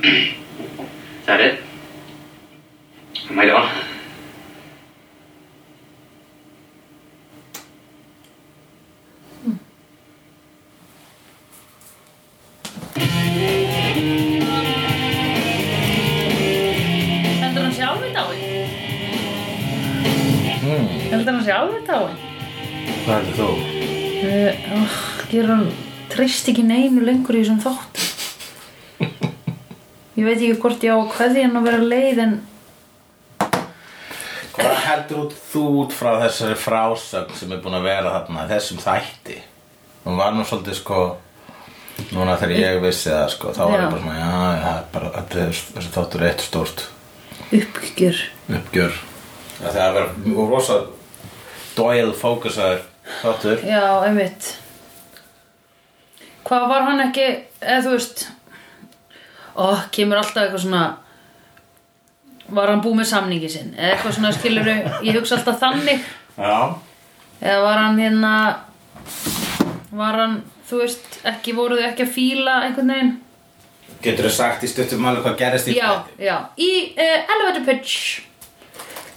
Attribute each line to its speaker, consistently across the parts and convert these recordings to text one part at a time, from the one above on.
Speaker 1: Is that it? Am I done?
Speaker 2: Heldur hann sé alveg dáin? Heldur hann sé alveg dáin?
Speaker 3: Hvað er þetta þó?
Speaker 2: Uh, oh, gerur hann treyst ekki neinu lengur í þessum þátt Ég veit ekki hvort ég á að kveðja hann að vera leið en
Speaker 3: Hvað heldur þú út frá þessari frásögn sem er búin að vera þarna, þessum þætti? Hún var nú svolítið sko, núna þegar ég vissi það sko, þá var
Speaker 2: Já.
Speaker 3: ég bara svona, já, já, það er bara, þetta er- þessi þáttur er eitt stórt
Speaker 2: uppgjör
Speaker 3: uppgjör. Það er að vera og rosa dóil fókusaður þáttur.
Speaker 2: Já, einmitt Hvað var hann ekki, eða þú veist Ó, kemur alltaf eitthvað svona Var hann búið með samningi sinn Eða eitthvað svona skiluru, ég hugsa alltaf þannig
Speaker 3: Já.
Speaker 2: Eða var hann hérna Var hann, þú veist, ekki voruðu ekki að fíla einhvern veginn
Speaker 3: Getur þú sagt í stuttum alveg hvað gerist í
Speaker 2: Já, já Í uh, elevator pitch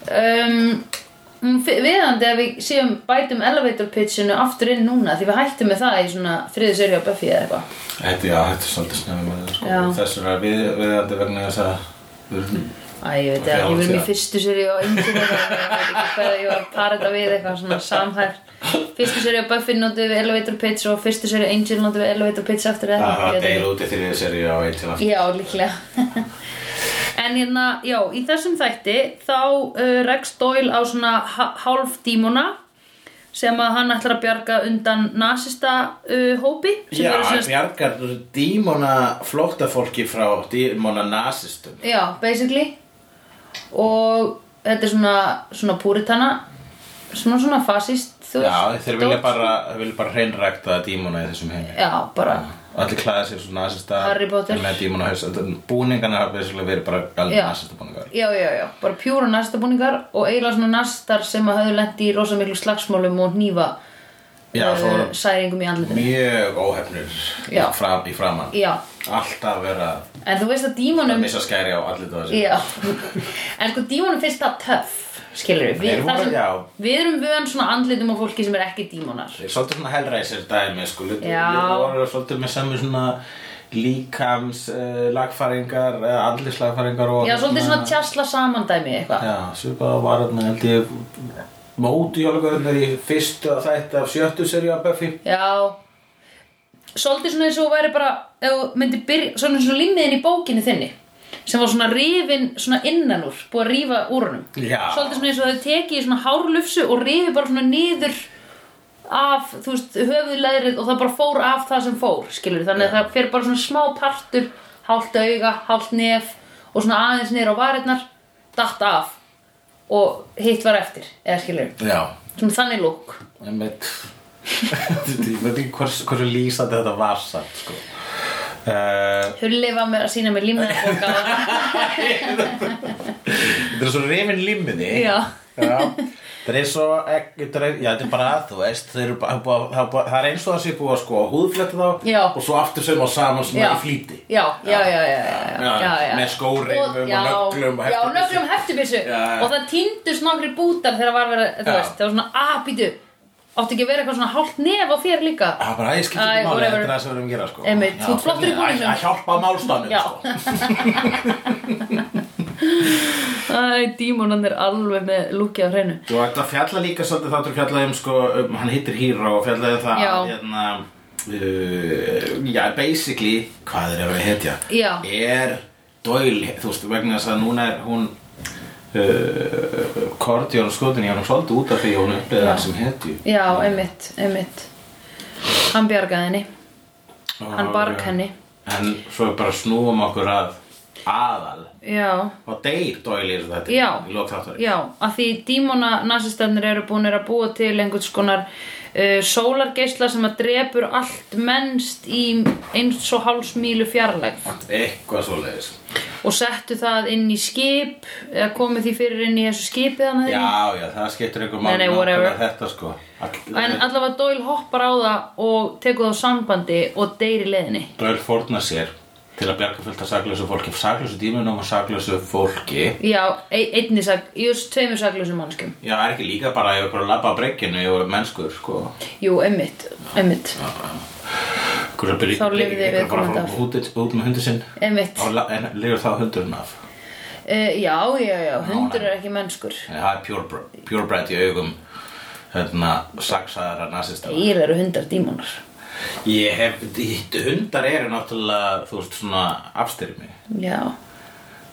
Speaker 2: um, mm, fi- Viðandi að við séum bætum elevator pitchinu aftur inn núna Því við hættum með það í svona þriði seri á Buffy eða eitthvað
Speaker 3: Þetta, já, þetta er svolítið snöfum að það sko,
Speaker 2: Já.
Speaker 3: þessur að við, við þetta vegna þess að við erum
Speaker 2: Æ, ég veit ekki, ég
Speaker 3: Já,
Speaker 2: verðum í
Speaker 3: síðan.
Speaker 2: fyrstu seri á Indíu Hvað ég var að para þetta við eitthvað svona samhært Fyrstu seri á Buffy notuðu við elevator pitch Og fyrstu seri á Angel notuðu við elevator pitch aftur eða
Speaker 3: Það
Speaker 2: eitthvað, ég
Speaker 3: var
Speaker 2: veit ekki.
Speaker 3: deil út í þriðið seri á eitt til aftur.
Speaker 2: Já, líklega En hérna, já, í þessum þætti þá uh, Rex Doyle á svona hálf dímona sem að hann ætlar að bjarga undan nasista uh, hópi sem
Speaker 3: Já,
Speaker 2: eru
Speaker 3: hann
Speaker 2: sem sagt-
Speaker 3: bjargar dímona flóttafólki frá dímona nasistum
Speaker 2: já, basically og þetta er svona, svona púritana svona svona fasist þú
Speaker 3: Já,
Speaker 2: veist,
Speaker 3: þeir vilja
Speaker 2: dót.
Speaker 3: bara, þeir vilja bara hreinrækta dímona í þessum heimi
Speaker 2: Já, bara,
Speaker 3: Og Allir klæða sér svona nasista
Speaker 2: Harry Potter.
Speaker 3: Með dímona haus Búningarna hafa vissulega verið bara alveg
Speaker 2: Já.
Speaker 3: nasista búningar
Speaker 2: já, já, já, bara pjúra nasistabúningar og eiginlega svona nasistar sem að höfðu lent í rosa miklu slagsmálum og hnífa
Speaker 3: Já,
Speaker 2: eh,
Speaker 3: svo voru
Speaker 2: særingum í andlitinu
Speaker 3: mjög óhefnir
Speaker 2: Já.
Speaker 3: fram, í framann
Speaker 2: Já,
Speaker 3: Alltaf vera
Speaker 2: En þú veist að
Speaker 3: að
Speaker 2: dímonum
Speaker 3: missa skæri á allir það þessi
Speaker 2: Já En sko dímonum finnst það töff Skilur við
Speaker 3: Þeir voru-
Speaker 2: þar sem-
Speaker 3: já.
Speaker 2: Við erum vöðan svona andlitum á fólki sem er ekki dímonar
Speaker 3: Þeir svolítið svona hellræsir dæmi sko Lítið
Speaker 2: Já.
Speaker 3: voru svolítið með sami svona líkams uh, lagfæringar, uh, andlislagfæringar og
Speaker 2: Já, svolítið
Speaker 3: Hérna-
Speaker 2: svona tjasla samandæmi eitthvað
Speaker 3: Já, svipað var hérna held ég móti jólagöðunar í fyrstu að þætti af sjöttu seríu af Buffy
Speaker 2: Já Svolítið svona eins og væri bara ef þú myndi byrja, svona eins og limmiðin í bókinni þinni sem var svona rifin svona innan úr, búið að rífa úr honum
Speaker 3: Já.
Speaker 2: Svolítið svona eins og þau tekið í svona hárlufsu og rifi bara svona niður af, þú veist, höfuðleðrið og það bara fór af það sem fór, skilur þannig að það fer bara svona smá partur hálft auga, hálft nef og svona aðeins niður á varirnar datt af og hitt var eftir, eða skilur
Speaker 3: Já,
Speaker 2: svona þannig lúk
Speaker 3: en veit ég veit ekki hvers, hversu lýsandi þetta var satt sko uh,
Speaker 2: Hulli var með að sína mér límnaðarbóka
Speaker 3: Þetta er svo rifin limmiði
Speaker 2: Já.
Speaker 3: Það er svo ekki, þetta er, já, þetta er bara að þú veist þeir eru bara, það er búið að- það er bara- það er eins og það sé búið að sko húðfletta þá
Speaker 2: Já.
Speaker 3: og svo aftur sem á saman svona í flýti
Speaker 2: já, já, já, já, já, já, já.
Speaker 3: með skóreifum og
Speaker 2: já,
Speaker 3: nöglum og
Speaker 2: já,
Speaker 3: heftubyssu.
Speaker 2: nöglum heftubissu
Speaker 3: Já, já.
Speaker 2: og það týndust nokkri bútar þegar var verið, þú
Speaker 3: Já.
Speaker 2: veist, það var svona að býtu, áttu ekki að vera eitthvað svona hálft nef á þér líka
Speaker 3: Það er bara aðeins skipt
Speaker 2: Æ,
Speaker 3: ekki máli,
Speaker 2: whatever.
Speaker 3: þetta er það sem við erum að gera sko
Speaker 2: Einmitt,
Speaker 3: Já,
Speaker 2: þú ert flottur í
Speaker 3: hvernig-
Speaker 2: búningnum.
Speaker 3: Að hjálpa málstannum
Speaker 2: Já.
Speaker 3: sko
Speaker 2: Æ, dímonan er alveg með lúkið á hreinu
Speaker 3: Og þetta fjalla líka svolítið þáttur fjallaði um sko, um, hann hittir Hero og fjallaði það
Speaker 2: Já.
Speaker 3: að, hérna, uh, já, basically, hvað er að vera hetja?
Speaker 2: Já.
Speaker 3: Er Doyle, þú veist, vegna þess að núna er hún, uh, Cordion skotin í hann svolítið út af því að hún upplegaði það sem hetju.
Speaker 2: Já, einmitt, einmitt Hann bjargaði henni, hann barg henni
Speaker 3: En svo bara snúum okkur að aðal.
Speaker 2: Já,
Speaker 3: Og deyr Doyle er þetta
Speaker 2: Já.
Speaker 3: í lok þáttur.
Speaker 2: já, að því dímona nasistannir eru búin að búa til einhvers konar uh, sólargeisla sem að drepur allt mennst í eins og hálsmílu fjarlægð
Speaker 3: Eitthvað svoleiðis.
Speaker 2: og settu það inn í skip eða komið því fyrir inn í þessu skipi þannig
Speaker 3: Já, já, það skiptir einhver
Speaker 2: Nei,
Speaker 3: mál
Speaker 2: nei, whatever.
Speaker 3: nákvæmlega þetta sko. All,
Speaker 2: en allavega Doyle hoppar á það og tekur það á sambandi og deyr í leðinni
Speaker 3: Doyle fórnar sér til að bjarga fullt af saklausu fólki saklausu dímunum og saklausu fólki
Speaker 2: Já, e- einni sak, just tveimur saklausum mannskjum
Speaker 3: já, er ekki líka bara ef ykkur að labba á brekkinu og mennskur, sko
Speaker 2: Jú, emmitt, emmitt,
Speaker 3: ykkur að byrja
Speaker 2: Þá lifði
Speaker 3: ykkur að bara
Speaker 2: viðkomandi
Speaker 3: fara
Speaker 2: af.
Speaker 3: út, út með hundu sinn
Speaker 2: emmitt
Speaker 3: og la- en lifur þá hundurinn af
Speaker 2: uh, Já, já, já, hundur er ekki mennskur
Speaker 3: en það er purebred pure í augum hérna, saksaðara nasista
Speaker 2: Þeir eru hundar dímonar
Speaker 3: ég hef, ég- hundar eru náttúrulega þú veist svona afstyrmi
Speaker 2: Já,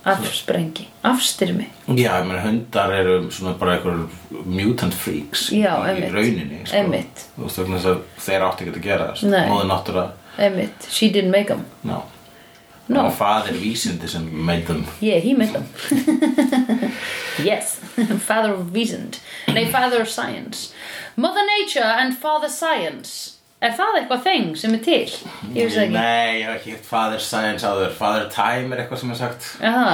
Speaker 2: afsprengi, afstyrmi
Speaker 3: Já, ég meina hundar eru svona bara einhver mutant freaks í-
Speaker 2: Já,
Speaker 3: í
Speaker 2: einmitt.
Speaker 3: rauninni sko.
Speaker 2: Einmitt.
Speaker 3: Þú veist vegna þess að þeir átti ekki að gera
Speaker 2: Nei.
Speaker 3: það Móður náttúra,
Speaker 2: Emmitt, she didn't make them
Speaker 3: ná
Speaker 2: No.
Speaker 3: Og faðir vísindi sem meitum
Speaker 2: Yeah, he made them Yes, father of reason Nei, father of science Mother nature and father science Er það eitthvað þeng sem er til? Ég veist ekki
Speaker 3: Nei, ég hef ekki hitt faðir science áður Faðir time er eitthvað sem er sagt
Speaker 2: Aha.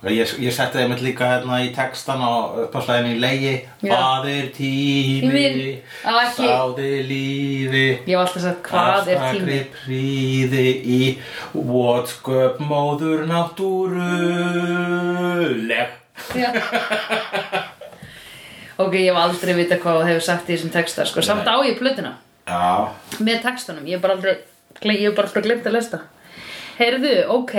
Speaker 3: Já, ég, ég setti þeim líka hérna í textan og uppáslæðin í leiði
Speaker 2: Já.
Speaker 3: Faðir tími,
Speaker 2: Tími. Á, ekki-
Speaker 3: sáði lífi
Speaker 2: Ég var alltaf að sagt hvað er tími
Speaker 3: Aftakri príði í Votsköp móður náttúruleg
Speaker 2: Já. Ok, ég hef aldrei vita hvað þú hefur sagt í þessum texta sko. Samt á ég plötuna
Speaker 3: Já
Speaker 2: Með textunum, ég hef bara aldrei gle- Ég hef bara aldrei glemt að lesta Heyrðu, ok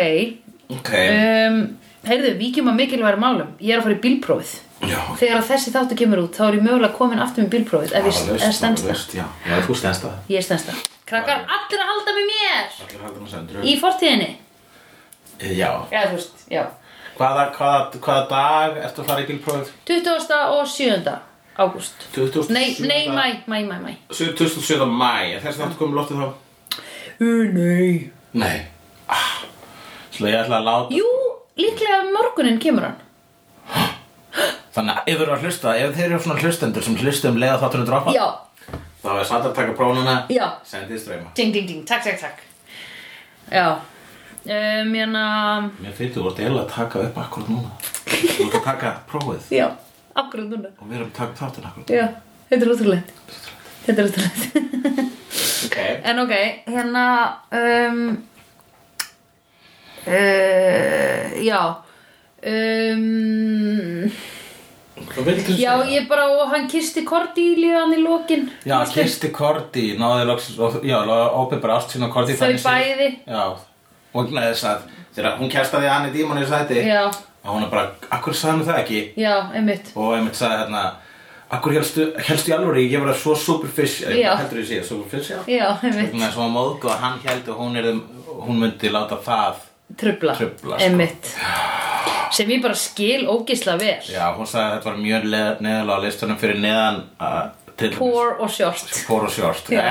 Speaker 3: Ok
Speaker 2: um, Heyrðu, víkjum að mikilværi málum Ég er að fara í bílprófið
Speaker 3: Já
Speaker 2: Þegar að þessi þáttu kemur út, þá er ég mögulega komin aftur með bílprófið Ef ég ef stendst það
Speaker 3: Já, já, þú stendst það
Speaker 2: Ég stendst það Krakkar, allir að halda með mér
Speaker 3: Allir haldur með sendur
Speaker 2: Í fortíðinni
Speaker 3: Já
Speaker 2: Já, þú veist, já
Speaker 3: Hvaða, hvaða, hvaða dag ertu að fara í bílprófið?
Speaker 2: 27. ágúst
Speaker 3: 27.
Speaker 2: Nei, nei, mæ, mæ, mæ, mæ
Speaker 3: 27. mæ Er þessi þáttu komið loftið þá?
Speaker 2: Uh, nei
Speaker 3: Nei ah. Svo ég ætla að láta
Speaker 2: Jú, líklega um morgunin kemur hann
Speaker 3: Þannig að ef þeir eru að hlusta Ef þeir eru svona hlustendur sem um hlustum leiða þáttunum droppa
Speaker 2: Já,
Speaker 3: Þá er satt að taka prófnuna
Speaker 2: já,
Speaker 3: Sendið streyma
Speaker 2: ding, ding, ding, takk, takk, takk Já um, Jana,
Speaker 3: Mér finnst þú voru eiginlega að taka upp akkurat núna Þú voru að taka prófið
Speaker 2: já, akkurat núna
Speaker 3: og við erum að taka þáttinn akkurat
Speaker 2: Já, þetta er ótrúlegt Þetta er ótrúlegt
Speaker 3: Ok
Speaker 2: En ok, hérna um, uh, Já um,
Speaker 3: Hvað vildu
Speaker 2: Já, ég bara, og hann kisti Cordelia hann í lokin
Speaker 3: Já, Kirsti Korti, náði loksins og- Já, opið bara ást sína á Korti
Speaker 2: Þau bæði.
Speaker 3: Já, og neða þess að Þegar hún kæstaði hann í dímonu í sæti
Speaker 2: Já,
Speaker 3: Og hún er bara, akkur sagði hann það ekki
Speaker 2: já, einmitt
Speaker 3: Og einmitt sagði hérna Akkur helstu, helstu í alvöru, ég var svo superficial
Speaker 2: Já.
Speaker 3: Heldur ég sé, superficial
Speaker 2: Já, einmitt
Speaker 3: Þannig að svo móðgu að hann held og hún, er, hún myndi láta það
Speaker 2: trubla,
Speaker 3: Trufla, sko.
Speaker 2: einmitt sem ég bara skil ógisla vel
Speaker 3: Já, hún sagði að þetta var mjög neðalega á listunum fyrir neðan uh, til
Speaker 2: poor og short
Speaker 3: Pór og sjórst
Speaker 2: Já.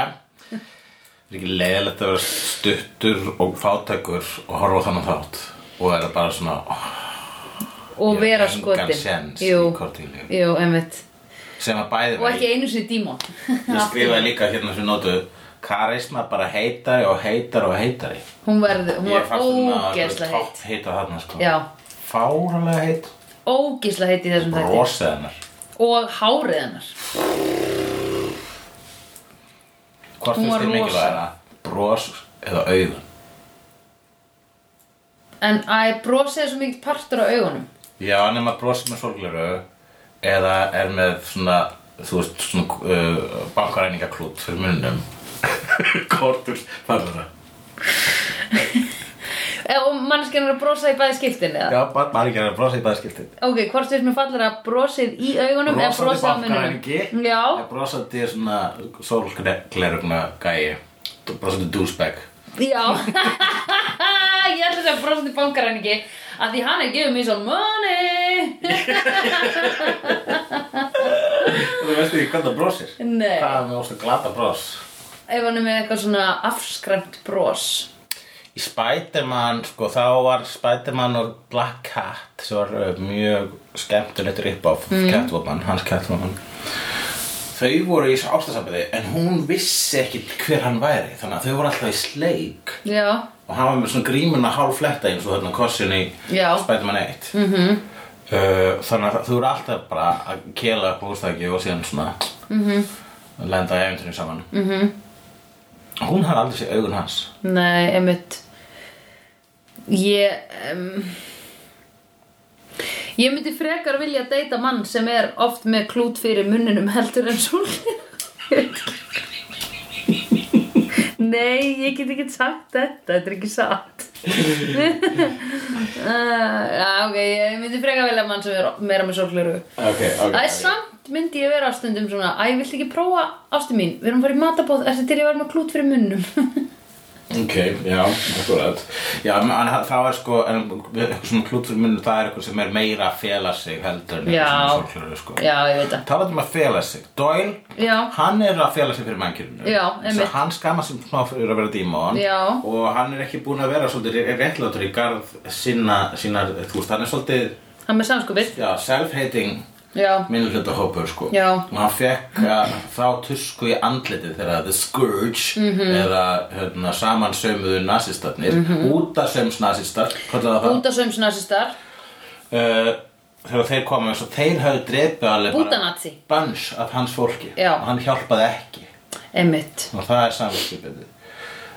Speaker 3: Það er ekki leiðilegt að vera stuttur og fátækur og horfa á þannig þátt og er það bara svona oh,
Speaker 2: og
Speaker 3: Ég
Speaker 2: vera
Speaker 3: hef engan
Speaker 2: skotin
Speaker 3: séns í
Speaker 2: jú,
Speaker 3: Cordelia.
Speaker 2: jú, einmitt
Speaker 3: sem að bæði
Speaker 2: og ekki einu sinni dímon
Speaker 3: Ég skrifaði líka hérna sem notu karisma bara heitari og heitari og heitari
Speaker 2: hún, verð, hún
Speaker 3: Ég
Speaker 2: var
Speaker 3: fannst hún að
Speaker 2: ógisla heitt
Speaker 3: topp heita þarna sko
Speaker 2: já,
Speaker 3: Fáralega heit
Speaker 2: ógisla heitt í þessum þætti
Speaker 3: Rosið hennar
Speaker 2: og hárið hennar
Speaker 3: Hvort
Speaker 2: Hún
Speaker 3: finnst
Speaker 2: var
Speaker 3: þér
Speaker 2: rosa.
Speaker 3: mikilvægara? Bros eða augun?
Speaker 2: en að brosið er svo mikið partur á augunum
Speaker 3: Já, nema brosið með sorgleru eða er með svona, þú veist, svona uh, bankaræningaklút fyrir munum Kortur fallur
Speaker 2: Eh, og mannskjarn er að brosa í bæði skiptin eða?
Speaker 3: Já, bara ekki að brosið í bæðskiltin
Speaker 2: ok, hvort veist mér fallir að brosið í augunum eða brosið á mununum já,
Speaker 3: eða brosandi svona sorglerugna gæi brosandi douchebag
Speaker 2: Já Ég ætla að segja brosandi bankaræningi að því hann er gefið mér svo money
Speaker 3: Þú veist ekki hvað það brosir?
Speaker 2: Nei.
Speaker 3: Það er með óstu glata bros
Speaker 2: ef hann er með eitthvað svona afskræmt bros
Speaker 3: Í Spiderman, sko, þá var Spiderman og Black Cat sem var uh, mjög skemmtilegt rip af Catwoman, hans Catwoman Þau voru í ástasambandi en hún vissi ekki hver hann væri þannig að þau voru alltaf í sleik
Speaker 2: Já,
Speaker 3: og hann var með svona grímuna hálf fletta eins og þarna kossin í
Speaker 2: Já.
Speaker 3: Spiderman 1 mm -hmm. uh, Þannig að þau voru alltaf bara að kela upp hústæki og síðan svona mm -hmm. lenda í eventunni saman mm -hmm. Hún hafði aldrei séð augun hans
Speaker 2: nei, einmitt Ég um, Ég myndi frekar vilja deyta mann sem er oft með klút fyrir munninum heldur en svolítið Nei, ég get ekki sagt þetta, þetta er ekki satt uh, Já, ok, ég myndi frekar vilja mann sem er meira með sorgleru
Speaker 3: Ok, ok.
Speaker 2: Það er samt myndi ég vera á stundum svona Æ, viltu ekki prófa ástu mín? Við erum að fara í matabóð, ertu til ég var með klút fyrir munnum?
Speaker 3: Ok, já, akkurat. Já, en það var sko, en eitthvað svona klútur munur, það er eitthvað sem er meira að fela sig heldur en
Speaker 2: Já.
Speaker 3: eitthvað svona sorglegur, sko.
Speaker 2: Já, ég veit það
Speaker 3: Talandi um að fela sig, Doyle,
Speaker 2: Já.
Speaker 3: hann er að fela sig fyrir mannkjörinu.
Speaker 2: Já, einmitt.
Speaker 3: Hann skamma sem smá fyrir að vera dímon
Speaker 2: Já.
Speaker 3: og hann er ekki búin að vera svolítið réttlátur í garð sinna, sína, þú veist, hann er svolítið,
Speaker 2: Hann með samskupið
Speaker 3: já, self-hating
Speaker 2: Já,
Speaker 3: minnulöta hópur sko
Speaker 2: Já.
Speaker 3: og hann fekk uh, þá tusku í andlitið þegar The Scourge
Speaker 2: Mhm.
Speaker 3: eða hérna, samansömuðu nazistarnir mm
Speaker 2: Mhm.
Speaker 3: -hmm. útasöms nazistar kallaði það
Speaker 2: bútasaums nasistar
Speaker 3: uh, þegar þeir komu eins og þeir höfðu drepið alveg bara
Speaker 2: Bútanazi.
Speaker 3: bunch af hans fólki
Speaker 2: Já.
Speaker 3: og hann hjálpaði ekki
Speaker 2: Einmitt
Speaker 3: og það er samvinskipið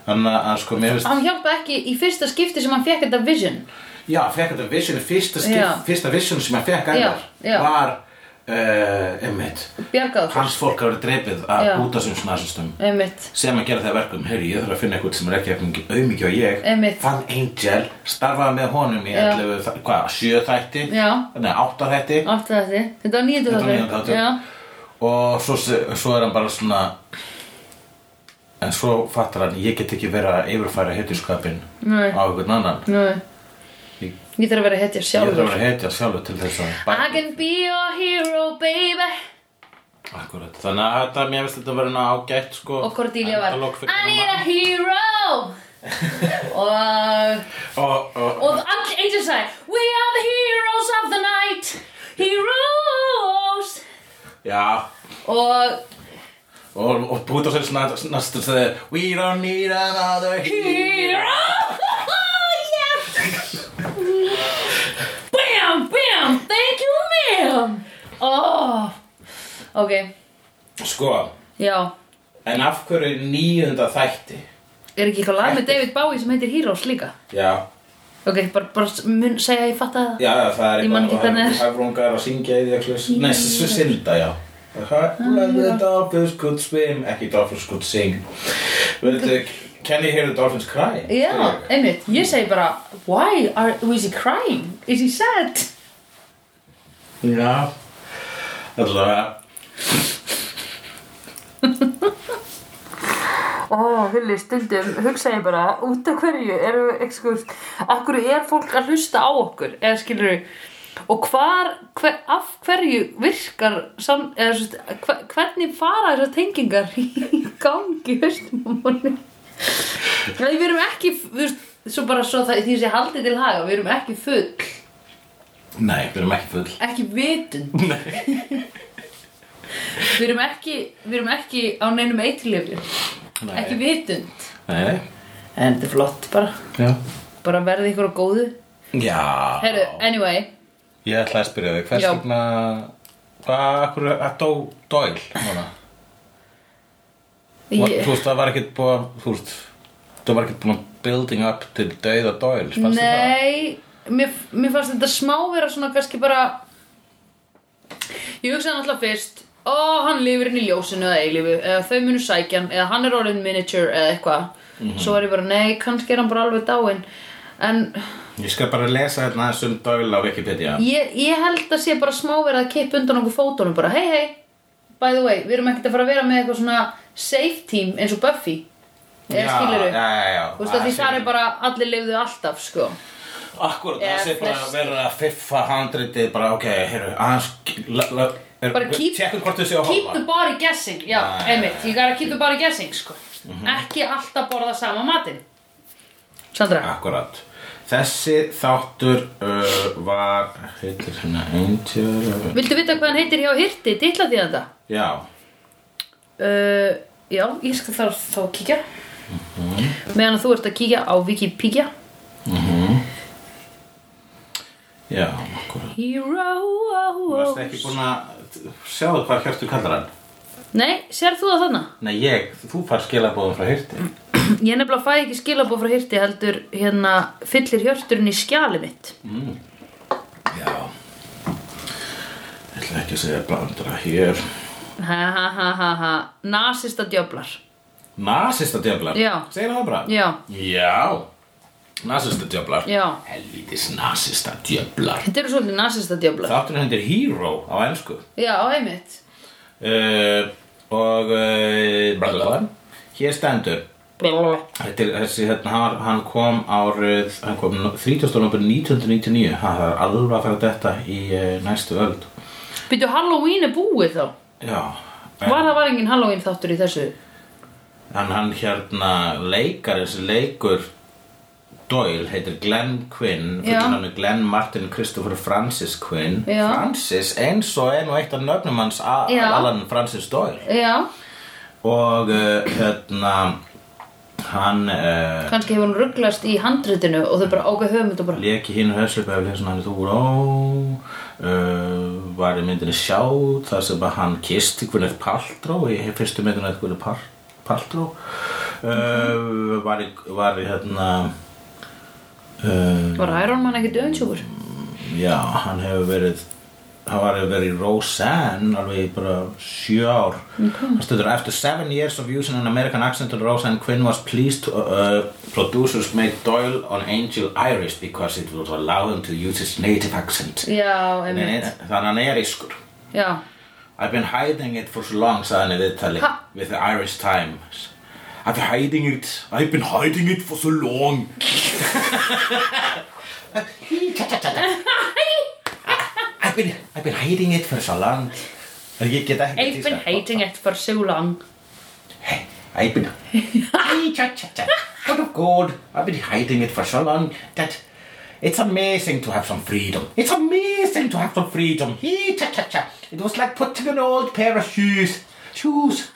Speaker 3: þannig að sko mér finnst
Speaker 2: Hann hjálpaði ekki í fyrsta skipti sem hann fekk þetta vision
Speaker 3: Já, fekk þetta vision, fyrsta,
Speaker 2: Já.
Speaker 3: skip, fyrsta vision sem hann fekk
Speaker 2: Já,
Speaker 3: annar
Speaker 2: já.
Speaker 3: var uh, einmitt,
Speaker 2: Bjargaðu
Speaker 3: hans fólk hafði drepið að
Speaker 2: Já.
Speaker 3: útasöms nazistum
Speaker 2: Einmitt
Speaker 3: sem að gera það að verkum, heyrðu, ég þarf að finna eitthvað sem er ekki auðmikið og ég
Speaker 2: Einmitt.
Speaker 3: fann Angel, starfaði með honum í
Speaker 2: Já.
Speaker 3: 11, þa- hvað, sjö þætti
Speaker 2: Já.
Speaker 3: nei, átta þætti
Speaker 2: Átti þetta Þetta var nýjöndu
Speaker 3: Þetta var
Speaker 2: þáttur
Speaker 3: níundi þáttur.
Speaker 2: Já
Speaker 3: og svo, se- svo er hann bara svona en svo fattar hann ég get ekki verið að yfirfæra hetjuskapin
Speaker 2: Nei.
Speaker 3: á einhvern annan
Speaker 2: Nú
Speaker 3: Ég-
Speaker 2: Ég þarf að vera hetja
Speaker 3: ég þarf að
Speaker 2: sjálfur
Speaker 3: vera hetja sjálfur til þess að
Speaker 2: I can be your hero baby
Speaker 3: Akkurat. þannig að þetta, mér finnst þetta verið ágætt sko,
Speaker 2: Og Cordelia var
Speaker 3: Endalok fyrir
Speaker 2: I need a
Speaker 3: mann.
Speaker 2: hero Og
Speaker 3: og, og,
Speaker 2: Og all angels sagði We are the heroes of the night Heroes
Speaker 3: já
Speaker 2: Og
Speaker 3: og, og búið á sér næstu þegar We don't need another hero
Speaker 2: Hero Yes Bam, bam, thank you ma'am oh. Ok,
Speaker 3: Sko,
Speaker 2: já
Speaker 3: en af hverju er níunda þætti?
Speaker 2: Er ekki eitthvað lag með David Bowie sem heitir Heroes líka?
Speaker 3: Já,
Speaker 2: Ok, bara, bara mun, segja að ég fatta það
Speaker 3: já, já, það er
Speaker 2: Ég man ekki hvernig er.
Speaker 3: Hæfrungar að syngja í því að klus Nei, svo synda, já
Speaker 2: Ah,
Speaker 3: Let the dolphins could swim Ekki dolphins could sing Vildu, can you hear the dolphins cry?
Speaker 2: Já, einmitt, ég segi bara Why are, is he crying? Is he sad?
Speaker 3: Já Allavega
Speaker 2: Ó, oh, hulli, stundum, hugsa ég bara út af hverju, eru, ekskurs akkur er fólk að hlusta á okkur eða skilur og hvar, hver, af hverju virkar sam, eða, svo, hver, hvernig fara þessar tengingar í gangi, höstum á manni Nei, við erum ekki þú veist, svo bara svo það, því sem haldið til haga við erum ekki full,
Speaker 3: Nei, við erum ekki full
Speaker 2: ekki vitund
Speaker 3: Nei
Speaker 2: við erum ekki, við erum ekki á neinum eitlifjum, ekki vitund
Speaker 3: Nei, nei,
Speaker 2: en þetta er flott bara
Speaker 3: já
Speaker 2: bara verði ykkur á góðu
Speaker 3: Já
Speaker 2: Heyrðu, anyway
Speaker 3: Ég ætla að spyrja þig, hvers
Speaker 2: Já.
Speaker 3: vegna Hvað, akkur, að dó dóil Núna Og,
Speaker 2: ég,
Speaker 3: Þú veist, það var ekkert búið að, þú veist, það var ekkert búin að building up til dauða Doyle, spannst það?
Speaker 2: Nei, mér, mér fannst þetta smá vera svona kannski bara Ég hugsaði náttúrulega fyrst Ó, hann lifir inn í ljósinu eða eilífu Eða þau munu sækja hann Eða hann er orðin miniature eða eitthvað
Speaker 3: Mhm.
Speaker 2: Svo var ég bara, nei, kannski er hann bara alveg dáinn En
Speaker 3: Ég skal bara lesa hérna aðeins um Doyle á Wikipedia.
Speaker 2: ég, ég held að sé bara smá verið að kippa undan okkur fótunum bara, hei hei, by the way, við erum ekkert að fara að vera með eitthvað svona safe team eins og Buffy eða skilur
Speaker 3: Já, já, já.
Speaker 2: Þú veist að því það er bara allir lifðu alltaf, sko
Speaker 3: Akkurat,
Speaker 2: Eða
Speaker 3: það sé bara að
Speaker 2: flest.
Speaker 3: vera að fiffa handritið, bara, ok, heyrðu, aðeins, la- la- er-
Speaker 2: Bara keep-
Speaker 3: Tjekkum hvort þau séu að
Speaker 2: Keep the
Speaker 3: horfa.
Speaker 2: body guessing, já,
Speaker 3: Já, já,
Speaker 2: einmitt Ég gotta keep the body guessing, sko
Speaker 3: Mhm.
Speaker 2: Ekki alltaf borða sama matinn Sandra
Speaker 3: Akkurat. Þessi þáttur uh, var, heitir hérna, Angel,
Speaker 2: Viltu vita hvað hann heitir hjá Hirti, titla því þetta?
Speaker 3: já,
Speaker 2: Uh, já, ég skal þarf þá að kíkja
Speaker 3: Mhm.
Speaker 2: Meðan að þú ert að kíkja á Wikipedia
Speaker 3: já, akkurat.
Speaker 2: Hero
Speaker 3: Þú varst ekki búin að, sjáðu hvað Hjörtur kallar hann?
Speaker 2: Nei, sér þú það þarna?
Speaker 3: Nei, ég, þú far skilabóðum frá hirti.
Speaker 2: Ég nefnilega fæ ekki skilabóð frá hirti heldur hérna fyllir hjörturinn í skjali mitt.
Speaker 3: Já Ég ætla ekki að segja blandra hér
Speaker 2: Ha ha ha ha ha. Nasista djöflar.
Speaker 3: Nasista djöflar
Speaker 2: Já.
Speaker 3: Segir það bara
Speaker 2: Já.
Speaker 3: Já Nasista djöflar
Speaker 2: Já.
Speaker 3: Helvítis nasista djöflar
Speaker 2: Þetta eru svolítið nasista djöflar.
Speaker 3: Þáttur hendur Hero á ennsku
Speaker 2: Já, einmitt.
Speaker 3: uh, Og uh, blablabla. Hér stendur
Speaker 2: Blablabla.
Speaker 3: Þetta er þessi, hérna, hann, hann kom árið, hann kom 30. november 1999, ha, það er alveg að fara þetta í uh, næstu öld.
Speaker 2: Býtu Halloween er búið þá.
Speaker 3: Já, en,
Speaker 2: Var það var engin Halloween þáttur í þessu?
Speaker 3: en hann hérna leikar, þessi leikur Doyle, heitir Glenn Quinn,
Speaker 2: Já.
Speaker 3: fyrir hann er Glenn Martin Christopher Francis Quinn.
Speaker 2: Já.
Speaker 3: Francis, eins og enn og eitt af nöfnum hans, A-
Speaker 2: Já.
Speaker 3: Alan Francis Doyle.
Speaker 2: Já,
Speaker 3: Og uh, hérna, hann... Uh,
Speaker 2: kannski hefur hún rugglast í handritinu og þau bara ákveð höfum þetta bara.
Speaker 3: Leki hinn höfslöpaði hérna hann þú ró uh, Var í myndinni sjá þar sem að hann kisti Gwyneth Paltrow í fyrstu myndinni að Gwyneth Pal- Paltrow uh, Var í, var í hérna uh,
Speaker 2: Var Iron Man ekkert öðinsjúkur?
Speaker 3: Já, hann hefur verið Hann var að vera í Roseanne alveg í bara sjö ár okay. stundur, After seven years of using an American accent on Roseanne, Quinn was pleased to, uh, producers made Doyle on Angel Irish because it would allow him to use his native accent
Speaker 2: Já,
Speaker 3: Nei, nei,
Speaker 2: einmitt.
Speaker 3: Þannig að hann er ískur
Speaker 2: Já.
Speaker 3: I've been hiding it for so long sagði hann í viðtali
Speaker 2: Ha?
Speaker 3: with the Irish Times I've been hiding it I've been hiding it for so long I've been, I've been hiding it for so long Ég get ekki
Speaker 2: I've been
Speaker 3: tíska.
Speaker 2: hating it for so long.
Speaker 3: Hey, I've been What of God I've been hiding it for so long that it's amazing to have some freedom It's amazing to have some freedom Hee, cha, cha, cha. It was like putting an old pair of shoes Shoes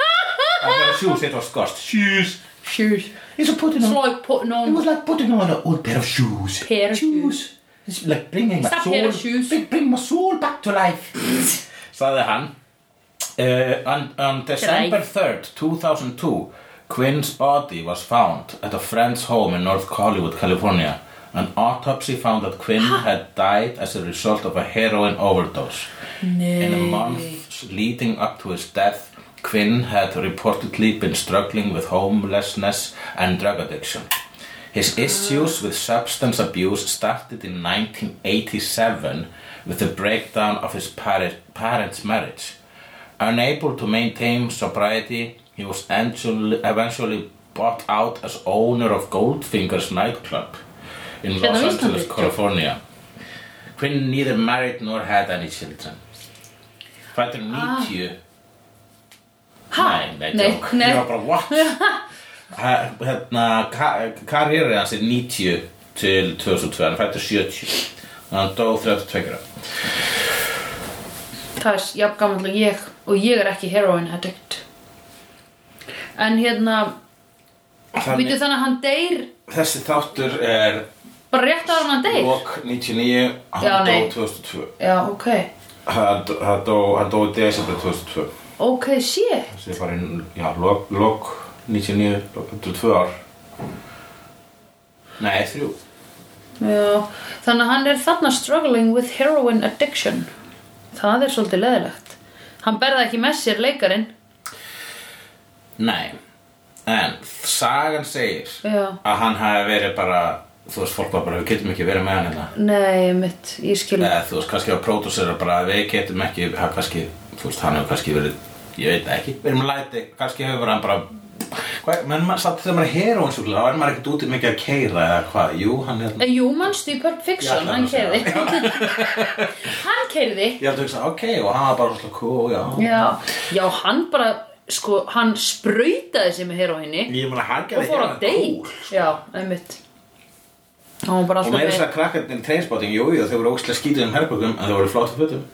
Speaker 3: I got shoes, it was cost Shoes
Speaker 2: Shoes.
Speaker 3: It's a putting
Speaker 2: It's
Speaker 3: on
Speaker 2: like putting
Speaker 3: It
Speaker 2: on...
Speaker 3: was like putting on an old pair of shoes
Speaker 2: Pair of
Speaker 3: Shoes It's like bringing my
Speaker 2: Stop
Speaker 3: soul
Speaker 2: pair of shoes.
Speaker 3: Bring, bring my soul back to life Sagði hann Uh, er on, on December 3rd, 2002, Quinn's body was found at a friend's home in North Hollywood, California. An autopsy found that Quinn had died as a result of a heroin overdose. In the months leading up to his death, Quinn had reportedly been struggling with homelessness and drug addiction. His issues with substance abuse started in 1987 with the breakdown of his pari- parents' marriage. Unable to maintain sobriety, he was eventually, eventually bought out as owner of Goldfinger's nightclub in
Speaker 2: Hérna á
Speaker 3: Los
Speaker 2: Íslandi,
Speaker 3: Angeles,
Speaker 2: já.
Speaker 3: California. Quinn neither married nor had any children. Fættur 90
Speaker 2: Ah. Ha?
Speaker 3: Nei, nei,
Speaker 2: Nei,
Speaker 3: nei,
Speaker 2: nei.
Speaker 3: Ég var bara, what? Ha- hérna, karrieri hans er 90 til 2002, hann fættur 70 og hann dó 32 ára.
Speaker 2: Það er jafn gaman og ég og ég er ekki heroin addict. En hérna...
Speaker 3: Þannig-
Speaker 2: Býtu þannig að hann deyr...
Speaker 3: Þessi þáttur er
Speaker 2: Bara rétt ára hann deyr?
Speaker 3: lok 99,
Speaker 2: Já,
Speaker 3: hann
Speaker 2: nei.
Speaker 3: dó 2002.
Speaker 2: Já, ok.
Speaker 3: Hann dó- hann dó, hann dó í desember 2002.
Speaker 2: Ok, shit.
Speaker 3: Þessi er bara, í- já, lok, lok 99, lok 22 ár. Nei, þrjú.
Speaker 2: Já, þannig að hann er þarna struggling with heroin addiction. Það er svolítið leðilegt. Hann berða ekki með sér leikarinn.
Speaker 3: Nei, en sagan segir
Speaker 2: Já.
Speaker 3: að hann hafi verið bara, þú veist, fólk var bara, við getum ekki verið með hann hérna.
Speaker 2: Nei, mitt, ég skil.
Speaker 3: Eða þú veist, kannski að pródúsera bara, við getum ekki, hann kannski, þú veist, hann hefur kannski verið, ég veit það ekki, verið með læti, kannski hefur hann bara, hvað, menn maður, satt þegar maður er heróinsuglega, þá er maður ekkert úti mikið að keira eða hvað, jú, hann er,
Speaker 2: Eh, Jú, mannstu í Pulp
Speaker 3: Já,
Speaker 2: Fiction,
Speaker 3: það er
Speaker 2: hann
Speaker 3: nú að um
Speaker 2: keirði. hann keirði.
Speaker 3: ég held að hugsa, ok, og hann var bara svona, cool, já.
Speaker 2: Já. Já, hann bara, sko, hann sprautaði sig með heroinni
Speaker 3: Ég meina, hann
Speaker 2: og
Speaker 3: gerði
Speaker 2: fór að
Speaker 3: heroin
Speaker 2: deyr.
Speaker 3: cool. sko.
Speaker 2: Já, einmitt. Og hann var bara
Speaker 3: Og meira
Speaker 2: alltaf
Speaker 3: þess að krakkarnir í treinspotting, jú, jú, þau voru ógstlega skítið um herbergum, en þau voru flott að fötum.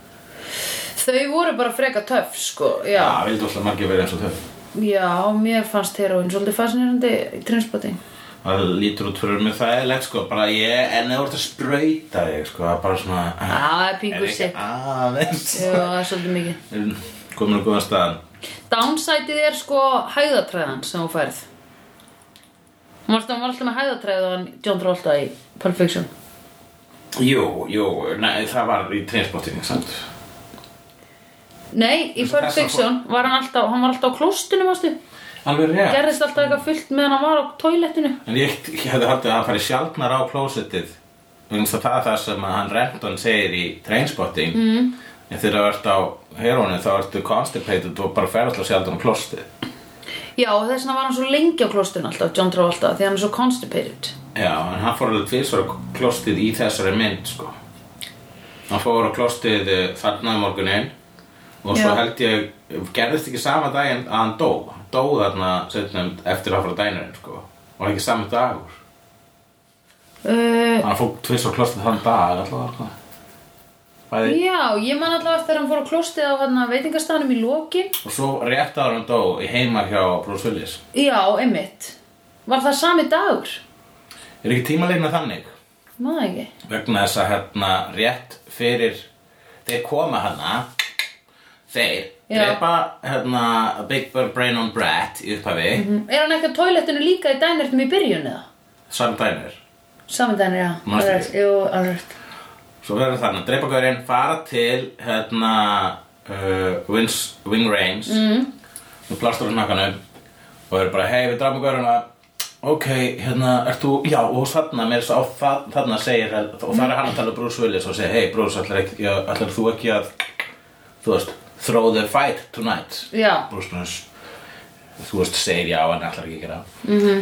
Speaker 2: Þau voru bara freka töff, sko, já.
Speaker 3: Já, vildi óslega margir verið eins og þau.
Speaker 2: Já, mér fannst heroin svolítið fascinerandi í Trainspotting.
Speaker 3: Það lítur út fyrir mig þægilegt sko, bara ég, en það voru að sprauta þig sko, það er bara svona
Speaker 2: Já, það er pingu
Speaker 3: er
Speaker 2: sitt.
Speaker 3: ekki aðeins
Speaker 2: Já, það er svolítið mikið.
Speaker 3: Komin á góðan staðan
Speaker 2: Downsætið er sko hæðatræðan sem hún færð. Hún var alltaf- hún var alltaf með hæðatræðu og hann John Travolta í Pulp Fiction
Speaker 3: Jú, jú, nei, það var í Trainspotting, sant?
Speaker 2: Nei, í
Speaker 3: Eins og
Speaker 2: Pulp
Speaker 3: þessa
Speaker 2: Fiction var hann alltaf, hann var alltaf á klóstinu, mástu
Speaker 3: Alveg rétt.
Speaker 2: Gerðist alltaf eitthvað fullt meðan hann var á toilettinu
Speaker 3: En ég, ég hefði haldið að hann færi sjaldnar á klósitið vegna þess að það er það sem að hann Renton segir í Trainspotting mm. en þegar þú ert á herónu þá ertu constipated og bara fer alltaf sjaldan á klósitið
Speaker 2: Já, og þess vegna var hann svo lengi á klóstinu alltaf, John Travolta Því hann er svo constipated
Speaker 3: Já, en hann fór alveg tvisvar á klósitið í þessari mynd sko hann fór á klósitið eh, þarna um morguninn og svo
Speaker 2: Já.
Speaker 3: held ég gerðist ekki sama daginn að hann dó hann dó þarna setnum eftir að fara dænurinn sko var ekki sami dagur
Speaker 2: uh,
Speaker 3: hann fór tvisvar á klósitið þann dag alltaf sko. Bæði
Speaker 2: Já, ég man allavega þegar hann fór á klóstið á hann veitingastæðanum í lokin
Speaker 3: Og svo rétt ára hann dó í heima hjá Bruce Willis.
Speaker 2: Já, einmitt Var það sami dagur?
Speaker 3: Er ekki tímalegna þannig?
Speaker 2: Maður ekki
Speaker 3: Vegna þess að hérna rétt fyrir þeir koma hana, þeir
Speaker 2: Já.
Speaker 3: drepa hérna Big Bird Brain on Brat í upphafi, mm -hmm.
Speaker 2: Er hann ekki á toilettinu líka í dænirtum í byrjun eða?
Speaker 3: samt dænur.
Speaker 2: Sami dænir, já
Speaker 3: Manstu
Speaker 2: Alveg,
Speaker 3: ekki?
Speaker 2: Jú, alveg
Speaker 3: Svo verður þannig að drepa gaurinn, fara til hérna uh, Wings, Wing Rames mm. og plastur hann nakkanum og eru bara, hei við drafum gaurinn að ok, hérna, ert þú, já, og þarna mér sá, það, þarna segir og það er hann að tala um Bruce Willis og segir hei Bruce, ætlar, ekki, já, ætlar þú ekki að þú veist, throw the fight tonight
Speaker 2: Já.
Speaker 3: Bruce Willis þú veist, segir já, en ætlar ekki að gera mm
Speaker 2: Mhm.
Speaker 3: -hmm.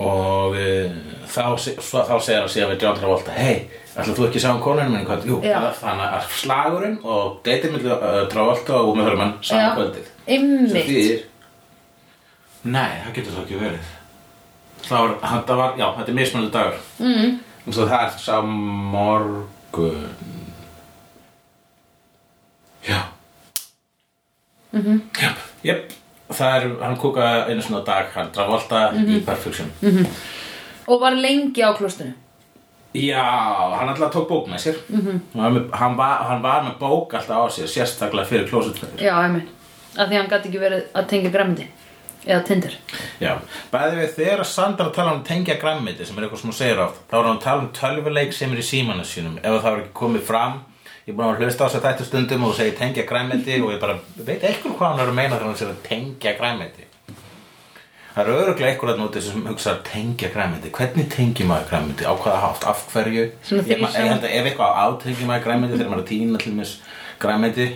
Speaker 3: og uh, þá, se- svo, þá segir hann síðan við John Travolta hei, ætlar þú ekki að sjá um konunum minn hvað, jú,
Speaker 2: Já.
Speaker 3: þannig að slagurinn og deytið milli uh, Travolta og Umhörmann
Speaker 2: Já.
Speaker 3: saman kvöldið sem
Speaker 2: Einmitt
Speaker 3: þýðir Nei, það getur það ekki verið Það var, þetta var, já, þetta er mismunandi dagur mm. Og svo það er sá morgun Já mm -hmm. Jöp, það er, hann kúkaði einu svona dag Hann Travolta í Perfection
Speaker 2: Og var lengi á klóstinu
Speaker 3: Já, hann alltaf tók bók með sér mm -hmm. hann, var, hann var með bók alltaf á sér Sérstaklega fyrir klósutfæður
Speaker 2: Já, einmitt Af því hann gæti ekki verið að tengja græmdi Eða tindir
Speaker 3: Já, bæði við þegar Sandra tala um tengja græmmiti sem er eitthvað sem hún segir oft þá er hún að tala um tölvuleik sem er í símanu sínum ef það var ekki komið fram ég er búin að hlusta á þess að þetta stundum og hún segir tengja græmmiti og ég bara veit eitthvað hvað hún er að meina þegar hún segir að tengja græmmiti Það eru öruglega eitthvað að núti sem hugsa tengja græmmiti hvernig tengjum maður græmmiti, á hvaða hátt, af hverju
Speaker 2: Svona
Speaker 3: Ég ma-
Speaker 2: þrisvar.
Speaker 3: ég held að ef eitthvað átengjum maður græmmiti þegar maður er að tína til mér græmmiti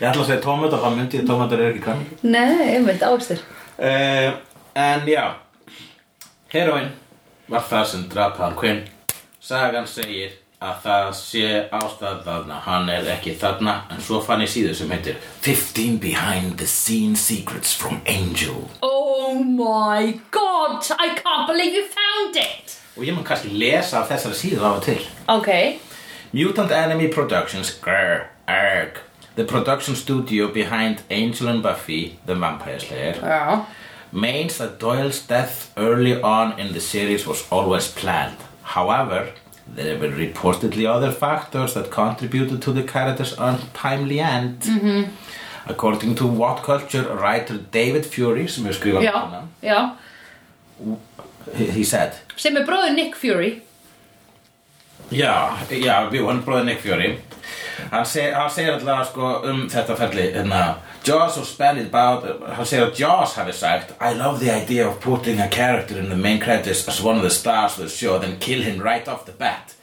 Speaker 3: Ég ætla að segja tómata, þá myndi ég að tómatar eru ekki græmmiti
Speaker 2: Nei, einmitt, ávistir
Speaker 3: Uh, en já Heroin var það sem draf hann Quinn Sagan segir að það sé ástæðaðna Hann er ekki þarna En svo fann ég síðu sem heitir 15 behind the scene secrets from Angel
Speaker 2: Oh my god, I can't believe you found it
Speaker 3: Og ég mun kannski lesa af þessari síðu af og til
Speaker 2: Ok
Speaker 3: Mutant Enemy Productions grr, arg, The production studio behind Angel and Buffy The Vampire Slayer
Speaker 2: Já
Speaker 3: Means that Doyle's death early on in the series was always planned. However, there were reportedly other factors that contributed to the character's untimely end. According to What Culture writer David Fury, sem hefur skrifað
Speaker 2: Já,
Speaker 3: hana,
Speaker 2: já
Speaker 3: he, he said,
Speaker 2: Sem er bróðið Nick Fury
Speaker 3: Já, já, jú, hann er bróðið Nick Fury Hann, seg, hann segir alltaf sko, um þetta ferli hérna, Jaws was spelled about Hann segir að Jaws hafi sagt I love the idea of putting a character in the main credits as one of the stars of the show then kill him right off the bat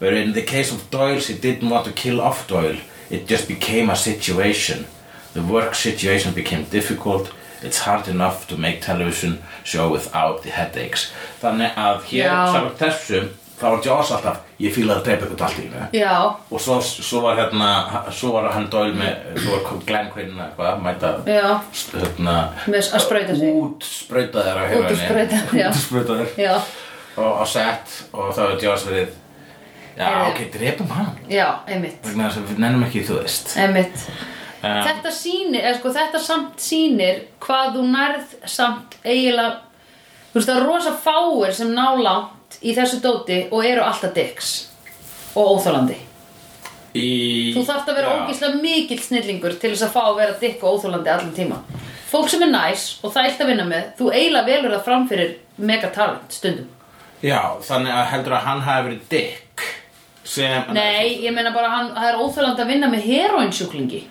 Speaker 3: But in the case of Doyle, she didn't want to kill off Doyle It just became a situation The work situation became difficult It's hard enough to make television show without the headaches Þannig að hér,
Speaker 2: Já.
Speaker 3: saman þessu þá var Jaws alltaf, ég fílaði að drepa eitthvað allt í einu
Speaker 2: Já
Speaker 3: og svo, svo var hérna svo var hann Doyle með svo var Glenn Quinn eða eitthvað að mæta
Speaker 2: Já,
Speaker 3: hérna
Speaker 2: með að sprauta sig
Speaker 3: út sprautaðir á
Speaker 2: Út og sprauta, já.
Speaker 3: út sprautaðir
Speaker 2: Já,
Speaker 3: og á set og þá var Jaws verið já
Speaker 2: Heyrðu.
Speaker 3: ok, drepum hann
Speaker 2: já, einmitt
Speaker 3: vegna þess að við nennum ekki þú veist
Speaker 2: Einmitt
Speaker 3: um,
Speaker 2: Þetta sýnir, eða sko þetta samt sýnir hvað þú nærð samt eiginlega Þú veist það er rosa fáir sem ná langt í þessu dóti og eru alltaf dicks og óþólandi
Speaker 3: í,
Speaker 2: Þú þarft að vera
Speaker 3: já.
Speaker 2: ógíslega mikill snillingur til þess að fá að vera dick og óþólandi allan tíma fólk sem er næs og það ætti að vinna með þú eiginlega velur það fram fyrir megatalent stundum
Speaker 3: Já, þannig að heldur að hann hafi verið dick sem
Speaker 2: nei, ég meina bara hann, það er óþjólandi að vinna með heroinsjúklingi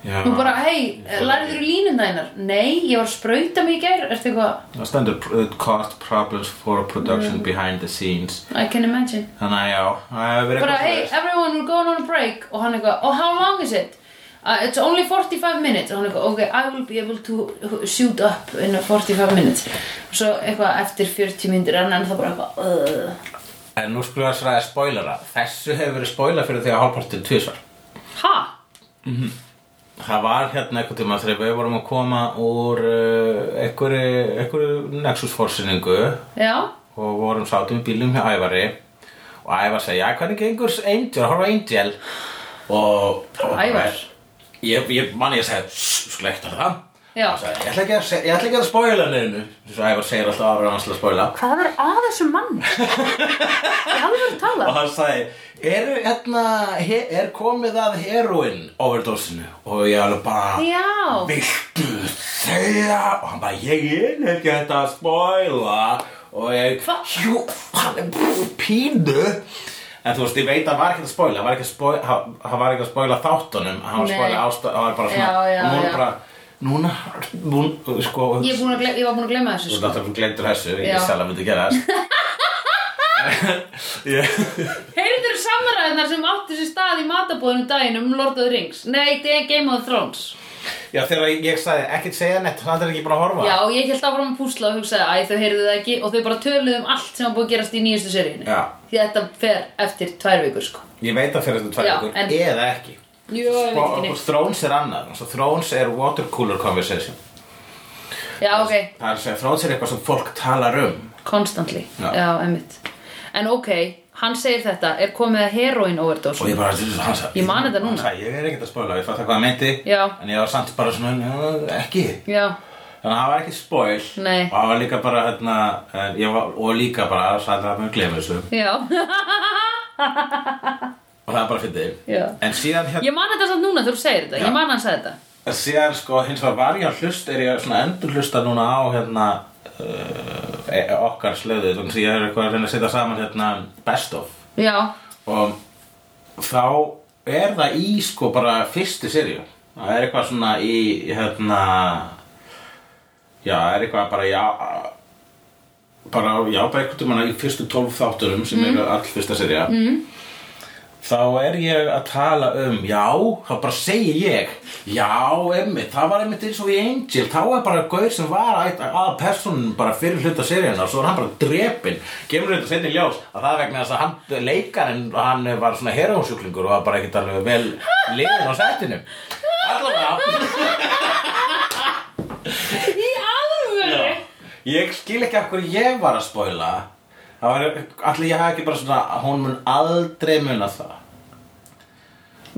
Speaker 3: Já,
Speaker 2: þú bara, hei, lærið þér í línuna einar nei, ég var að sprauta mig í gær ertu eitthvað,
Speaker 3: Það stendur it caused problems for production behind the scenes
Speaker 2: I can imagine
Speaker 3: Þannig að já, það hefur verið
Speaker 2: bara,
Speaker 3: eitthvað
Speaker 2: hey,
Speaker 3: svoleiðis.
Speaker 2: everyone, we're going on a break og hann eitthvað, oh, how long is it? Uh, it's only 45 minutes og hann eitthvað, ok, I will be able to shoot up in 45 minutes og svo eitthvað eftir 40 myndir en það bara eitthvað uh.
Speaker 3: En nú skulum við að sræða spoilera Þessu hefur verið spoiler fyrir því að hálfpartin tvisvar
Speaker 2: ha?
Speaker 3: Það var hérna eitthvað tíma þegar við vorum að koma úr uh, einhverju, einhverju Nexus forsinningu
Speaker 2: já?
Speaker 3: og vorum sátum í bílum hjá Ævari og Ævar segja, "Já, hvernig gengur Angel, horfa á Angel og, og
Speaker 2: Ævar?
Speaker 3: Ég, ég manni ég segi, slekta um það
Speaker 2: Já.
Speaker 3: Hann sagði, ég ætla ekki að, seg- ég ætla ekki að spoila neinu Svo Ævar segir alltaf ára hans til að spoila
Speaker 2: hvað er að þessum mann? ég hafði verið að
Speaker 3: og
Speaker 2: tala
Speaker 3: hann sagði eru hérna, he, er komið að heroin overdosinu og ég alveg bara
Speaker 2: Já.
Speaker 3: viltu segja og hann bara ég er ekki hægt að spoila og ég
Speaker 2: Hva?
Speaker 3: jú, hann er pff, pínu En þú veist, ég veit að hann var ekki að spoila, hann var ekki að spoila, hann- hann var ekki að spoila þáttunum, hann var að
Speaker 2: Nei.
Speaker 3: spoila ástæð, hann var bara svona,
Speaker 2: Já, já,
Speaker 3: og núna
Speaker 2: já.
Speaker 3: bara, núna, núna, sko,
Speaker 2: ég, er búin að gle- ég var búin að gleyma þessu
Speaker 3: Þú
Speaker 2: sko.
Speaker 3: náttúrulega glemdur þessu, ég
Speaker 2: Já.
Speaker 3: vissi alveg að myndi gera þessu. Ég-
Speaker 2: heyrður samræðnar sem áttu sér stað í matabóðinu daginn um Lord of the Rings nei, þetta er Game of Thrones
Speaker 3: Já, þegar ég sagði ekkert segja neitt, hann er ekki búin að horfa.
Speaker 2: Já, ég held áfram að púsla og hugsaði að þau heyrðu það ekki og þau bara töluðu um allt sem var búið að gerast í nýjastu seríunni
Speaker 3: Já.
Speaker 2: Því að þetta fer eftir tvær vikur sko
Speaker 3: Ég veit að fyrir þetta tvær
Speaker 2: Já,
Speaker 3: ykkur,
Speaker 2: en-
Speaker 3: eða ekki. Sko,
Speaker 2: Jú, ég veit ekki neitt
Speaker 3: Thrones er annað, svo Thrones er water cooler conversation.
Speaker 2: Já, ok,
Speaker 3: Það er að segja, Thrones er eitthvað sem fólk talar um.
Speaker 2: constantly,
Speaker 3: Já.
Speaker 2: já, emmitt En ok, hann segir þetta, er komið að heroin
Speaker 3: Og
Speaker 2: overdose
Speaker 3: ég bara, hann sagði,
Speaker 2: Ég man þetta núna.
Speaker 3: Hann sagði, ég er ekkert að spoila, ég fatt hvað hann meinti.
Speaker 2: Já.
Speaker 3: En ég var samt bara svona, "Já, ekki.
Speaker 2: Já,
Speaker 3: Þannig að það var ekki spoil.
Speaker 2: Nei.
Speaker 3: Og það var líka bara, hérna, eh, ég var, og líka bara, sagði það með gleyma þessu.
Speaker 2: já,
Speaker 3: Og það er bara fyndið.
Speaker 2: já
Speaker 3: En síðan hérna...
Speaker 2: Ég man þetta samt núna þegar þú segir þetta,
Speaker 3: Já.
Speaker 2: ég man hann sagði þetta
Speaker 3: Síðan sko, hins vegar var ég að hlusta er ég að svona endur hlusta núna á hérna uh, e- okkar slöðu þannig að ég er eitthvað að reyna að setja saman hérna best of
Speaker 2: Já,
Speaker 3: og þá er það í sko bara fyrstu serju það er eitthvað svona í hérna já, það er eitthvað bara já bara, já, bara eitthvað manna í fyrstu 12 þátturum sem eru all fyrsta serja mm. þá er ég að tala um já, þá bara segi ég já, einmitt, það var einmitt eins og í Angel þá er bara gaur sem var að, að personun bara fyrir hluta seríuna og svo er hann bara drepinn, gemur þetta setni ljós að það er vegna þess að hann leikarinn hann var svona herónsjúklingur og var bara ekkert alveg vel liðin á setinu allavega
Speaker 2: í alvöru
Speaker 3: Ég skil ekki af hverju ég var að spoila Það var, allir ég hafi ekki bara svona Hún mun aldrei muna það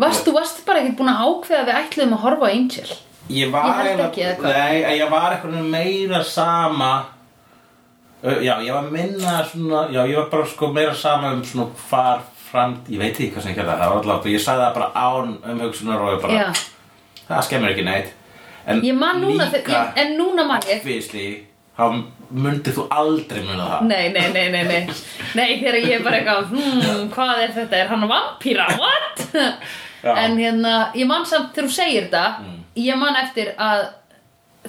Speaker 2: Varst, þú varst bara ekkert búin að ákveða að við ætluðum að horfa á Angel
Speaker 3: Ég var
Speaker 2: Ég held
Speaker 3: eiginlega-
Speaker 2: ekki, eða hvað?
Speaker 3: Nei, en ég var eitthvað meira sama Ö, Já, ég var minna svona Já, ég var bara sko meira sama um svona Hvar fram, ég veit ekki hvað sem ég kjörða Það var alltaf, ég sagði það bara án um hugsunar Og ég bara,
Speaker 2: Já
Speaker 3: það skemmir ekki neitt En
Speaker 2: Ég man núna,
Speaker 3: líka,
Speaker 2: líka, ég, en núna man ég
Speaker 3: Obviously, þá mundir þú aldrei muna það
Speaker 2: Nei, nei, nei, nei, nei Nei, þegar ég er bara eitthvað hmm, Hvað er þetta? Er hann vampíra? What?
Speaker 3: Já. Mm.
Speaker 2: En hérna, ég man samt þegar þú segir þetta Ég man eftir að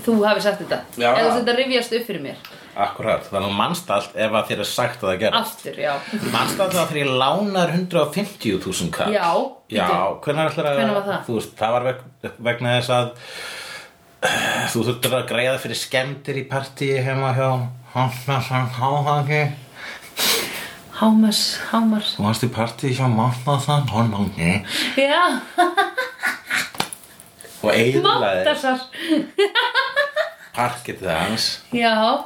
Speaker 2: þú hafi sagt þetta
Speaker 3: Já.
Speaker 2: Eða þú þetta rifjast upp fyrir mér
Speaker 3: Akkurat, þannig að mannst allt ef að þér er sagt að það gera
Speaker 2: Aftur, já
Speaker 3: Mannst allt að þér lánar 150.000 kall
Speaker 2: Já,
Speaker 3: Já, hvernig ætlar að
Speaker 2: Hvenær var það?
Speaker 3: Þú veist, það var veg- vegna þess að Þú þurftur að greiða fyrir skemmtir í partíi heima hjá Hafnarsson Háhangi
Speaker 2: Hámas, hámars
Speaker 3: Þú varst í partíi hjá Máttasson Háhangi
Speaker 2: Já,
Speaker 3: Og eiginlega
Speaker 2: máttasar
Speaker 3: parkið hans
Speaker 2: Já,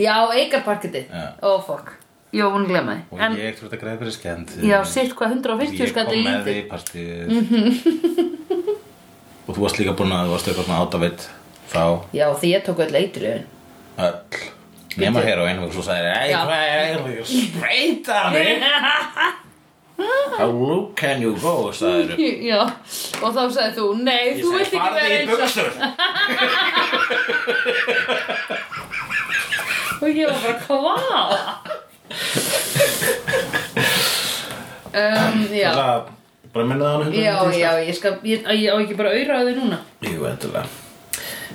Speaker 2: já, Oh, eigarparkiti
Speaker 3: Já.
Speaker 2: Ó, fokk Jó, hún glemma
Speaker 3: Og
Speaker 2: því En,
Speaker 3: ég þurfti að greiða fyrir skemmtir
Speaker 2: já, sko, sitt hvað 150
Speaker 3: Ég kom
Speaker 2: skall er
Speaker 3: með
Speaker 2: lítið
Speaker 3: því í partíið
Speaker 2: Mhm.
Speaker 3: Og þú varst líka búin að þú varst eitthvað svona átavitt Þá
Speaker 2: Já, því ég tók öll eitriðin
Speaker 3: öll Nema hér og einu og svo sagði Ei,
Speaker 2: Já.
Speaker 3: hvað er það? Spreita mig How low can you go, sagðir
Speaker 2: Já, og þá sagði þú, nei, þú vilt ekki vera
Speaker 3: Farði í
Speaker 2: eins og
Speaker 3: buksur
Speaker 2: Og ég var bara, hvað? um, já,
Speaker 3: Bara, bara minnaði hann hundra
Speaker 2: já, já, ég skal, ég, ég á ekki bara auðra á þau núna
Speaker 3: Jú, endilega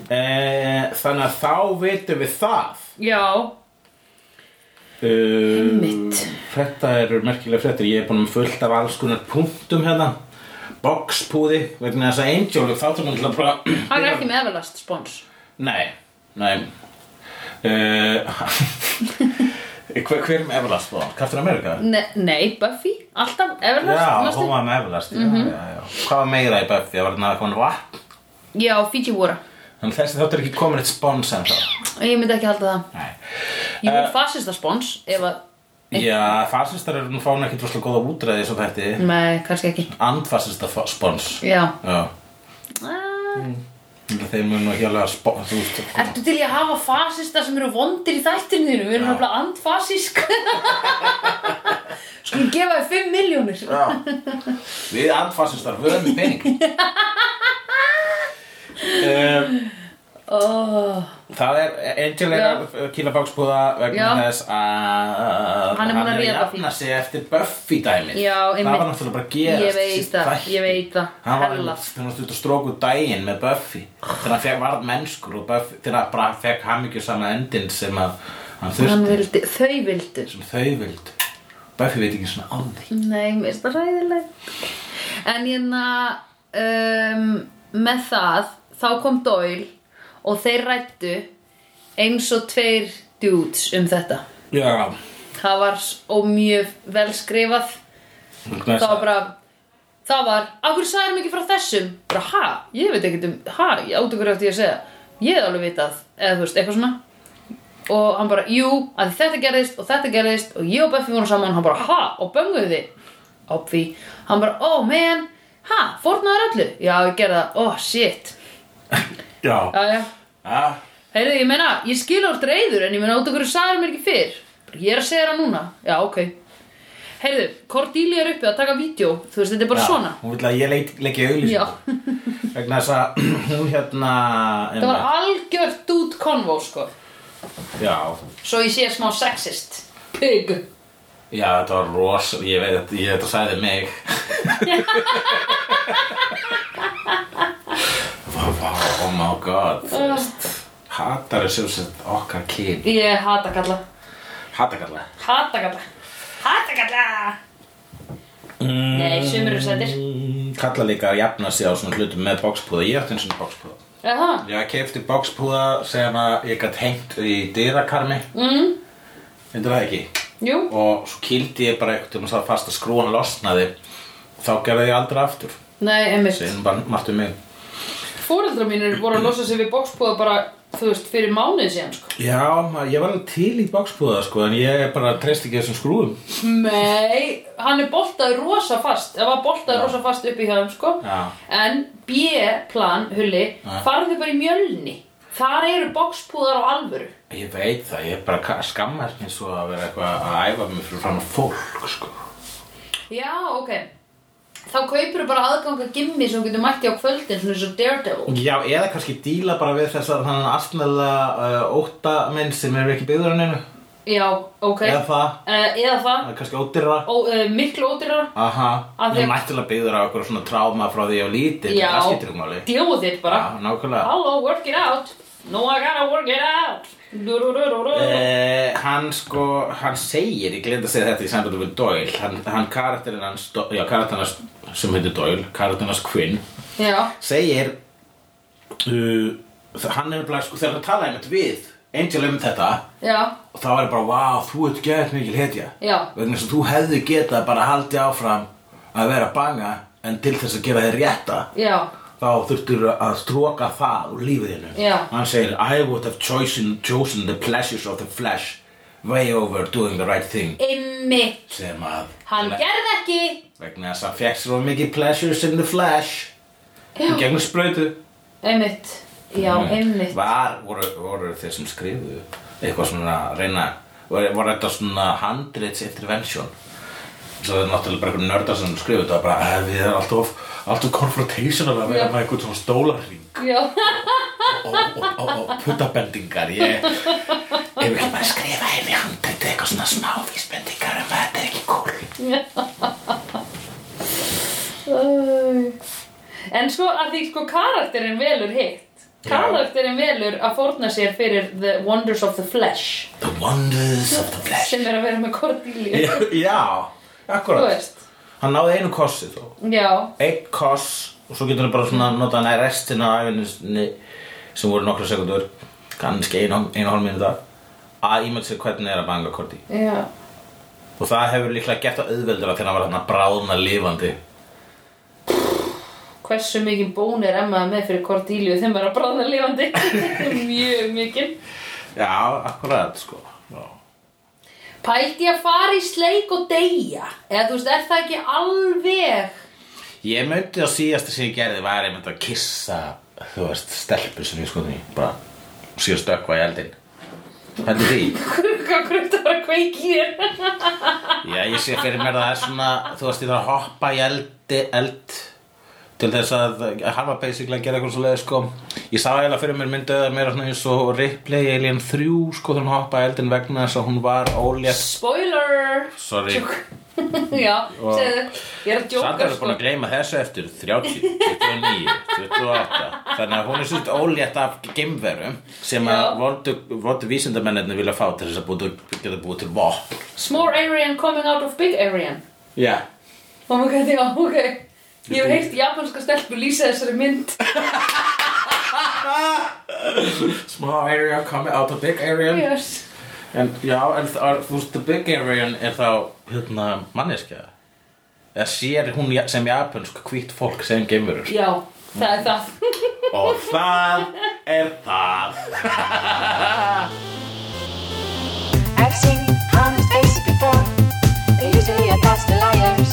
Speaker 3: eh, Þannig að þá vitum við það
Speaker 2: Já,
Speaker 3: Einmitt
Speaker 2: Einmitt.
Speaker 3: Þetta eru merkilega fréttir Ég er búin um fullt af alls konar punktum hérna Boxpúði vegna þess að Angel Þá tók hann til að bara
Speaker 2: hann er ekki með Everlast spons
Speaker 3: Nei, nei uh, hver, hver er með Everlast þá? Captain America?
Speaker 2: Ne Nei, Buffy, alltaf Everlast Mhm.
Speaker 3: Já,
Speaker 2: manstu?
Speaker 3: hún var með Everlast mm -hmm. já, já, já. Hvað var meira í Buffy? Það var hann að koma vatn
Speaker 2: Já, Fiji voru
Speaker 3: Þannig þessi þáttur er ekki komin eitt spons en þá
Speaker 2: Ég myndi ekki halda það
Speaker 3: Nei
Speaker 2: Ég
Speaker 3: Eh.
Speaker 2: myndi fascista spons ef að,
Speaker 3: Já, fasistar eru nú fáin ekkert rosslega góða útræði svo þetta
Speaker 2: nei, kannski ekki
Speaker 3: Andfasista fa- spons
Speaker 2: Mm. Já
Speaker 3: Já,
Speaker 2: ah.
Speaker 3: þeir mun nú hjálega spons þú veist.
Speaker 2: Ertu til ég að hafa fasista sem eru vondir í þættinu þínu? Við erum náttúrulega andfasísk Skulum gefa þér 5 miljónir
Speaker 3: Já Við andfasistar höfum í pening um,
Speaker 2: oh.
Speaker 3: Það er Angel er
Speaker 2: Já.
Speaker 3: að uh, kýla bákspúða vegna
Speaker 2: Já.
Speaker 3: þess að
Speaker 2: Hann er búinn að réða
Speaker 3: jafna sig eftir Buffy dæmi
Speaker 2: Já,
Speaker 3: Það
Speaker 2: einmitt.
Speaker 3: var náttúrulega bara að gerast
Speaker 2: Ég veit
Speaker 3: síðustu
Speaker 2: það,
Speaker 3: þætti.
Speaker 2: ég veit það
Speaker 3: Hann var
Speaker 2: Hella.
Speaker 3: hann var stund að stróku daginn með Buffy þegar hann fekk varð mennskur og Buffy þegar hann bara fekk hamingjusama endin sem að hann
Speaker 2: Hann
Speaker 3: þurfti
Speaker 2: vildi, þau vildu
Speaker 3: sem þau vildu Buffy veit ekki svona á því
Speaker 2: Nei, mér finnst það ræðilegt En hérna um, með það þá kom Doyle og þeir rættu eins og tveir dudes um þetta
Speaker 3: Já,
Speaker 2: það var s- og mjög vel skrifað það var bara það var, af hverju sagðum ekki frá þessum bara ha, ég veit ekkert um ha, ég át okkur eftir ég að segja ég hef alveg vitað, eða þú veist, eitthvað svona og hann bara, jú, að þetta gerðist og þetta gerðist og ég og Buffy vorum saman hann bara, ha, og bönguðu þið obvi, hann bara, oh man ha, fórnaður öllu, já, ég gerði það oh shit,
Speaker 3: Já,
Speaker 2: já, já
Speaker 3: já
Speaker 2: heyrðu, ég meina, ég skil orð reyður en ég meina, át okkur sagðum mér ekki fyrr Bara, ég er að segja það núna, já, ok heyrðu, Cordelia er uppi að taka vídeo þú veist, þetta er bara
Speaker 3: Já,
Speaker 2: svona
Speaker 3: Hún vil að ég leik, leiki auðlýsing
Speaker 2: Já.
Speaker 3: vegna þess að hún hérna
Speaker 2: Það var algjört út konvó sko
Speaker 3: Já,
Speaker 2: Svo ég sé smá sexist Pig
Speaker 3: Já, þetta var ros, ég veit að ég, þetta sagði mig Vá, vá, oh my god þú veist. Hatar er sem sagt okkar kyn
Speaker 2: Ég hata kalla
Speaker 3: Hatakalla
Speaker 2: Hata kalla Hata kalla
Speaker 3: mm,
Speaker 2: Nei, sumir eru sætir
Speaker 3: Kalla líka að jafna sig á svona hlutum með bókspúða Ég átti eins og bókspúða
Speaker 2: Jaha
Speaker 3: Ég kefti bókspúða sem að ég gætt hengt í dyrakarmi mm. Vindu það ekki?
Speaker 2: Jú
Speaker 3: Og svo kýldi ég bara eitthvað um að það fast að skrúan losnaði Þá gerði ég aldrei aftur
Speaker 2: Nei, einmitt
Speaker 3: Sem bara margt um mig
Speaker 2: Fóreldrar mínir voru að losa sig við bókspúða bara Þú veist, fyrir mánuði síðan sko
Speaker 3: Já, ma- ég var alveg til í bakspúða sko, en ég bara treyst ekki þessum skrúum
Speaker 2: Nei, hann er boltaði rosa fast Það var boltaði rosa fast uppi hjá þeim sko
Speaker 3: Já.
Speaker 2: En B-plan, Hulli
Speaker 3: Já.
Speaker 2: Farðu bara í mjölni Þar eru bókspúðar á alvöru
Speaker 3: Ég veit það, ég bara ka- skammast mér svo að vera eitthvað að æfa mig fyrir fram að fólk sko
Speaker 2: Já, ok Þá kaupir þú bara aðganga gimmi sem þú getur mætti á kvöldin svona eins og Daredevil
Speaker 3: Já, eða kannski díla bara við þess að þannig aftanlega uh, óta minn sem eru ekki byggður hann einu
Speaker 2: Já, ok
Speaker 3: Eða það,
Speaker 2: Eh, eða það
Speaker 3: það er kannski ódýrra
Speaker 2: Ó, uh, Miklu ódýrar
Speaker 3: Aha,
Speaker 2: Af því-
Speaker 3: ég er mættilega byggður á eitthvað svona tráma frá því ég var lítið
Speaker 2: Já,
Speaker 3: það skiptir ekki máli
Speaker 2: djóðu þitt bara
Speaker 3: Já, nákvæmlega
Speaker 2: Hello, work it out No, I gotta work it out Dururururu
Speaker 3: Eh, hann sko, hann segir, ég glemt að segja þetta í sambandum við Doyle hann, hann karakterinn hans, Do- já karakterinn hans sem heitir Doyle, karakterinn hans Quinn
Speaker 2: Já,
Speaker 3: segir uh, þ- hann er bara, sko, þegar hann talaði með við Angel um þetta
Speaker 2: já,
Speaker 3: og þá er bara, vá, þú ert gæðt mikil hetja
Speaker 2: Já.
Speaker 3: vegna þess að þú hefði getað bara haldið áfram að vera banga en til þess að gera þér rétta
Speaker 2: já
Speaker 3: þá þurftur að stróka það úr lífiðinu
Speaker 2: Já.
Speaker 3: hann segir I would have chosen, chosen the pleasures of the flesh way over doing the right thing
Speaker 2: Einmitt
Speaker 3: sem að
Speaker 2: Hann gerði ekki
Speaker 3: vegna þess að fekk svo mikið pleasures in the flesh í
Speaker 2: Já,
Speaker 3: gegnum sprautu
Speaker 2: einmitt Já, einmitt
Speaker 3: var, voru, voru þeir sem skrifuðu eitthvað svona að reyna voru, voru þetta svona handrits intervention svo er náttúrulega bara einhver nördar sem skrifa þetta bara að við erum alltaf, alltaf confrontational að vera
Speaker 2: Já.
Speaker 3: með einhvern svona stólarring
Speaker 2: Já,
Speaker 3: og, og, og, og puttabendingar ég ef ekki bara skrifa heim í handrið eitthvað svona smá vísbendingar um að þetta er ekki cool
Speaker 2: Æ. En sko að því sko karakterinn velur hitt Karakterinn velur að fórna sér fyrir The Wonders of the Flesh
Speaker 3: The wonders of the flesh
Speaker 2: sem er að vera með Cordelia
Speaker 3: Já,
Speaker 2: Þú
Speaker 3: akkurat
Speaker 2: veist,
Speaker 3: Hann náði einu kossi þó
Speaker 2: já,
Speaker 3: Einn koss og svo getur hann bara svona notað hann að restina af henni sem voru nokkra sekundur kannski einu, einu hálf minúta að ímynd sér hvernig er að banga korti
Speaker 2: já
Speaker 3: og það hefur líklega gert það auðveldara þegar hann var hann að bráðna lifandi
Speaker 2: Hversu mikið bón er emmaði með fyrir Cordelia þeim er að bráða lifandi Mjög mikið
Speaker 3: Já, akkurat sko Já.
Speaker 2: Pældi að fara í sleik og deyja Eða þú veist, er það ekki alveg
Speaker 3: Ég myndi á síðasta sem ég gerði var ég myndi að kissa þú veist, stelpur sem ég skoði í bara síðan stökkva í eldin Heldur því?
Speaker 2: Hvað grunnt að vera að kveiki í þér
Speaker 3: Já, ég sé fyrir mér að það er svona þú veist, ég þarf að hoppa í eldi, eld til þess að hann var basically að gera eitthvað svo leið sko ég sá eiginlega fyrir mér myndið að mér svona eins og Ripley í Alien 3 sko þegar hún hoppaði í eldin vegna þess að hún var ólétt
Speaker 2: Spoiler
Speaker 3: Sorry,
Speaker 2: Tjók. Já,
Speaker 3: Og-
Speaker 2: segðu, ég er að
Speaker 3: Sandra
Speaker 2: djóka
Speaker 3: er
Speaker 2: sko
Speaker 3: búin að gleyma þessu eftir 30, 29, 28 þannig að hún er svolítið ólétt af geimverum sem að
Speaker 2: Já.
Speaker 3: vondu, vondu vísindamennirni vilja fá til þess að búið, geta búið til vopn
Speaker 2: Small Aryan coming out of big Aryan
Speaker 3: Já,
Speaker 2: Oh my god, já, ok Ég hef heyrt japanska stelpu lýsa þessari mynd
Speaker 3: small area coming out of big area
Speaker 2: yes.
Speaker 3: En já, en það er- þú veist, the big Aryan er þá, hérna, manneskja eða sér hún ja- sem japansk hvít fólk sem geimurur
Speaker 2: Já, það er það
Speaker 3: Og það er það
Speaker 4: I've seen honest faces before. They're usually a pass to liars.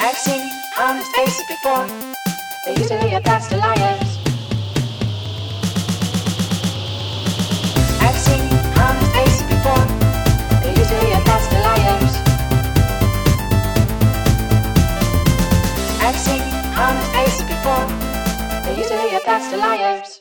Speaker 4: I've seen honest faces before. They're usually a pass to liars. I've seen honest faces before. They're usually a pass to liars. I've seen honest faces before. They're usually a pass to liars.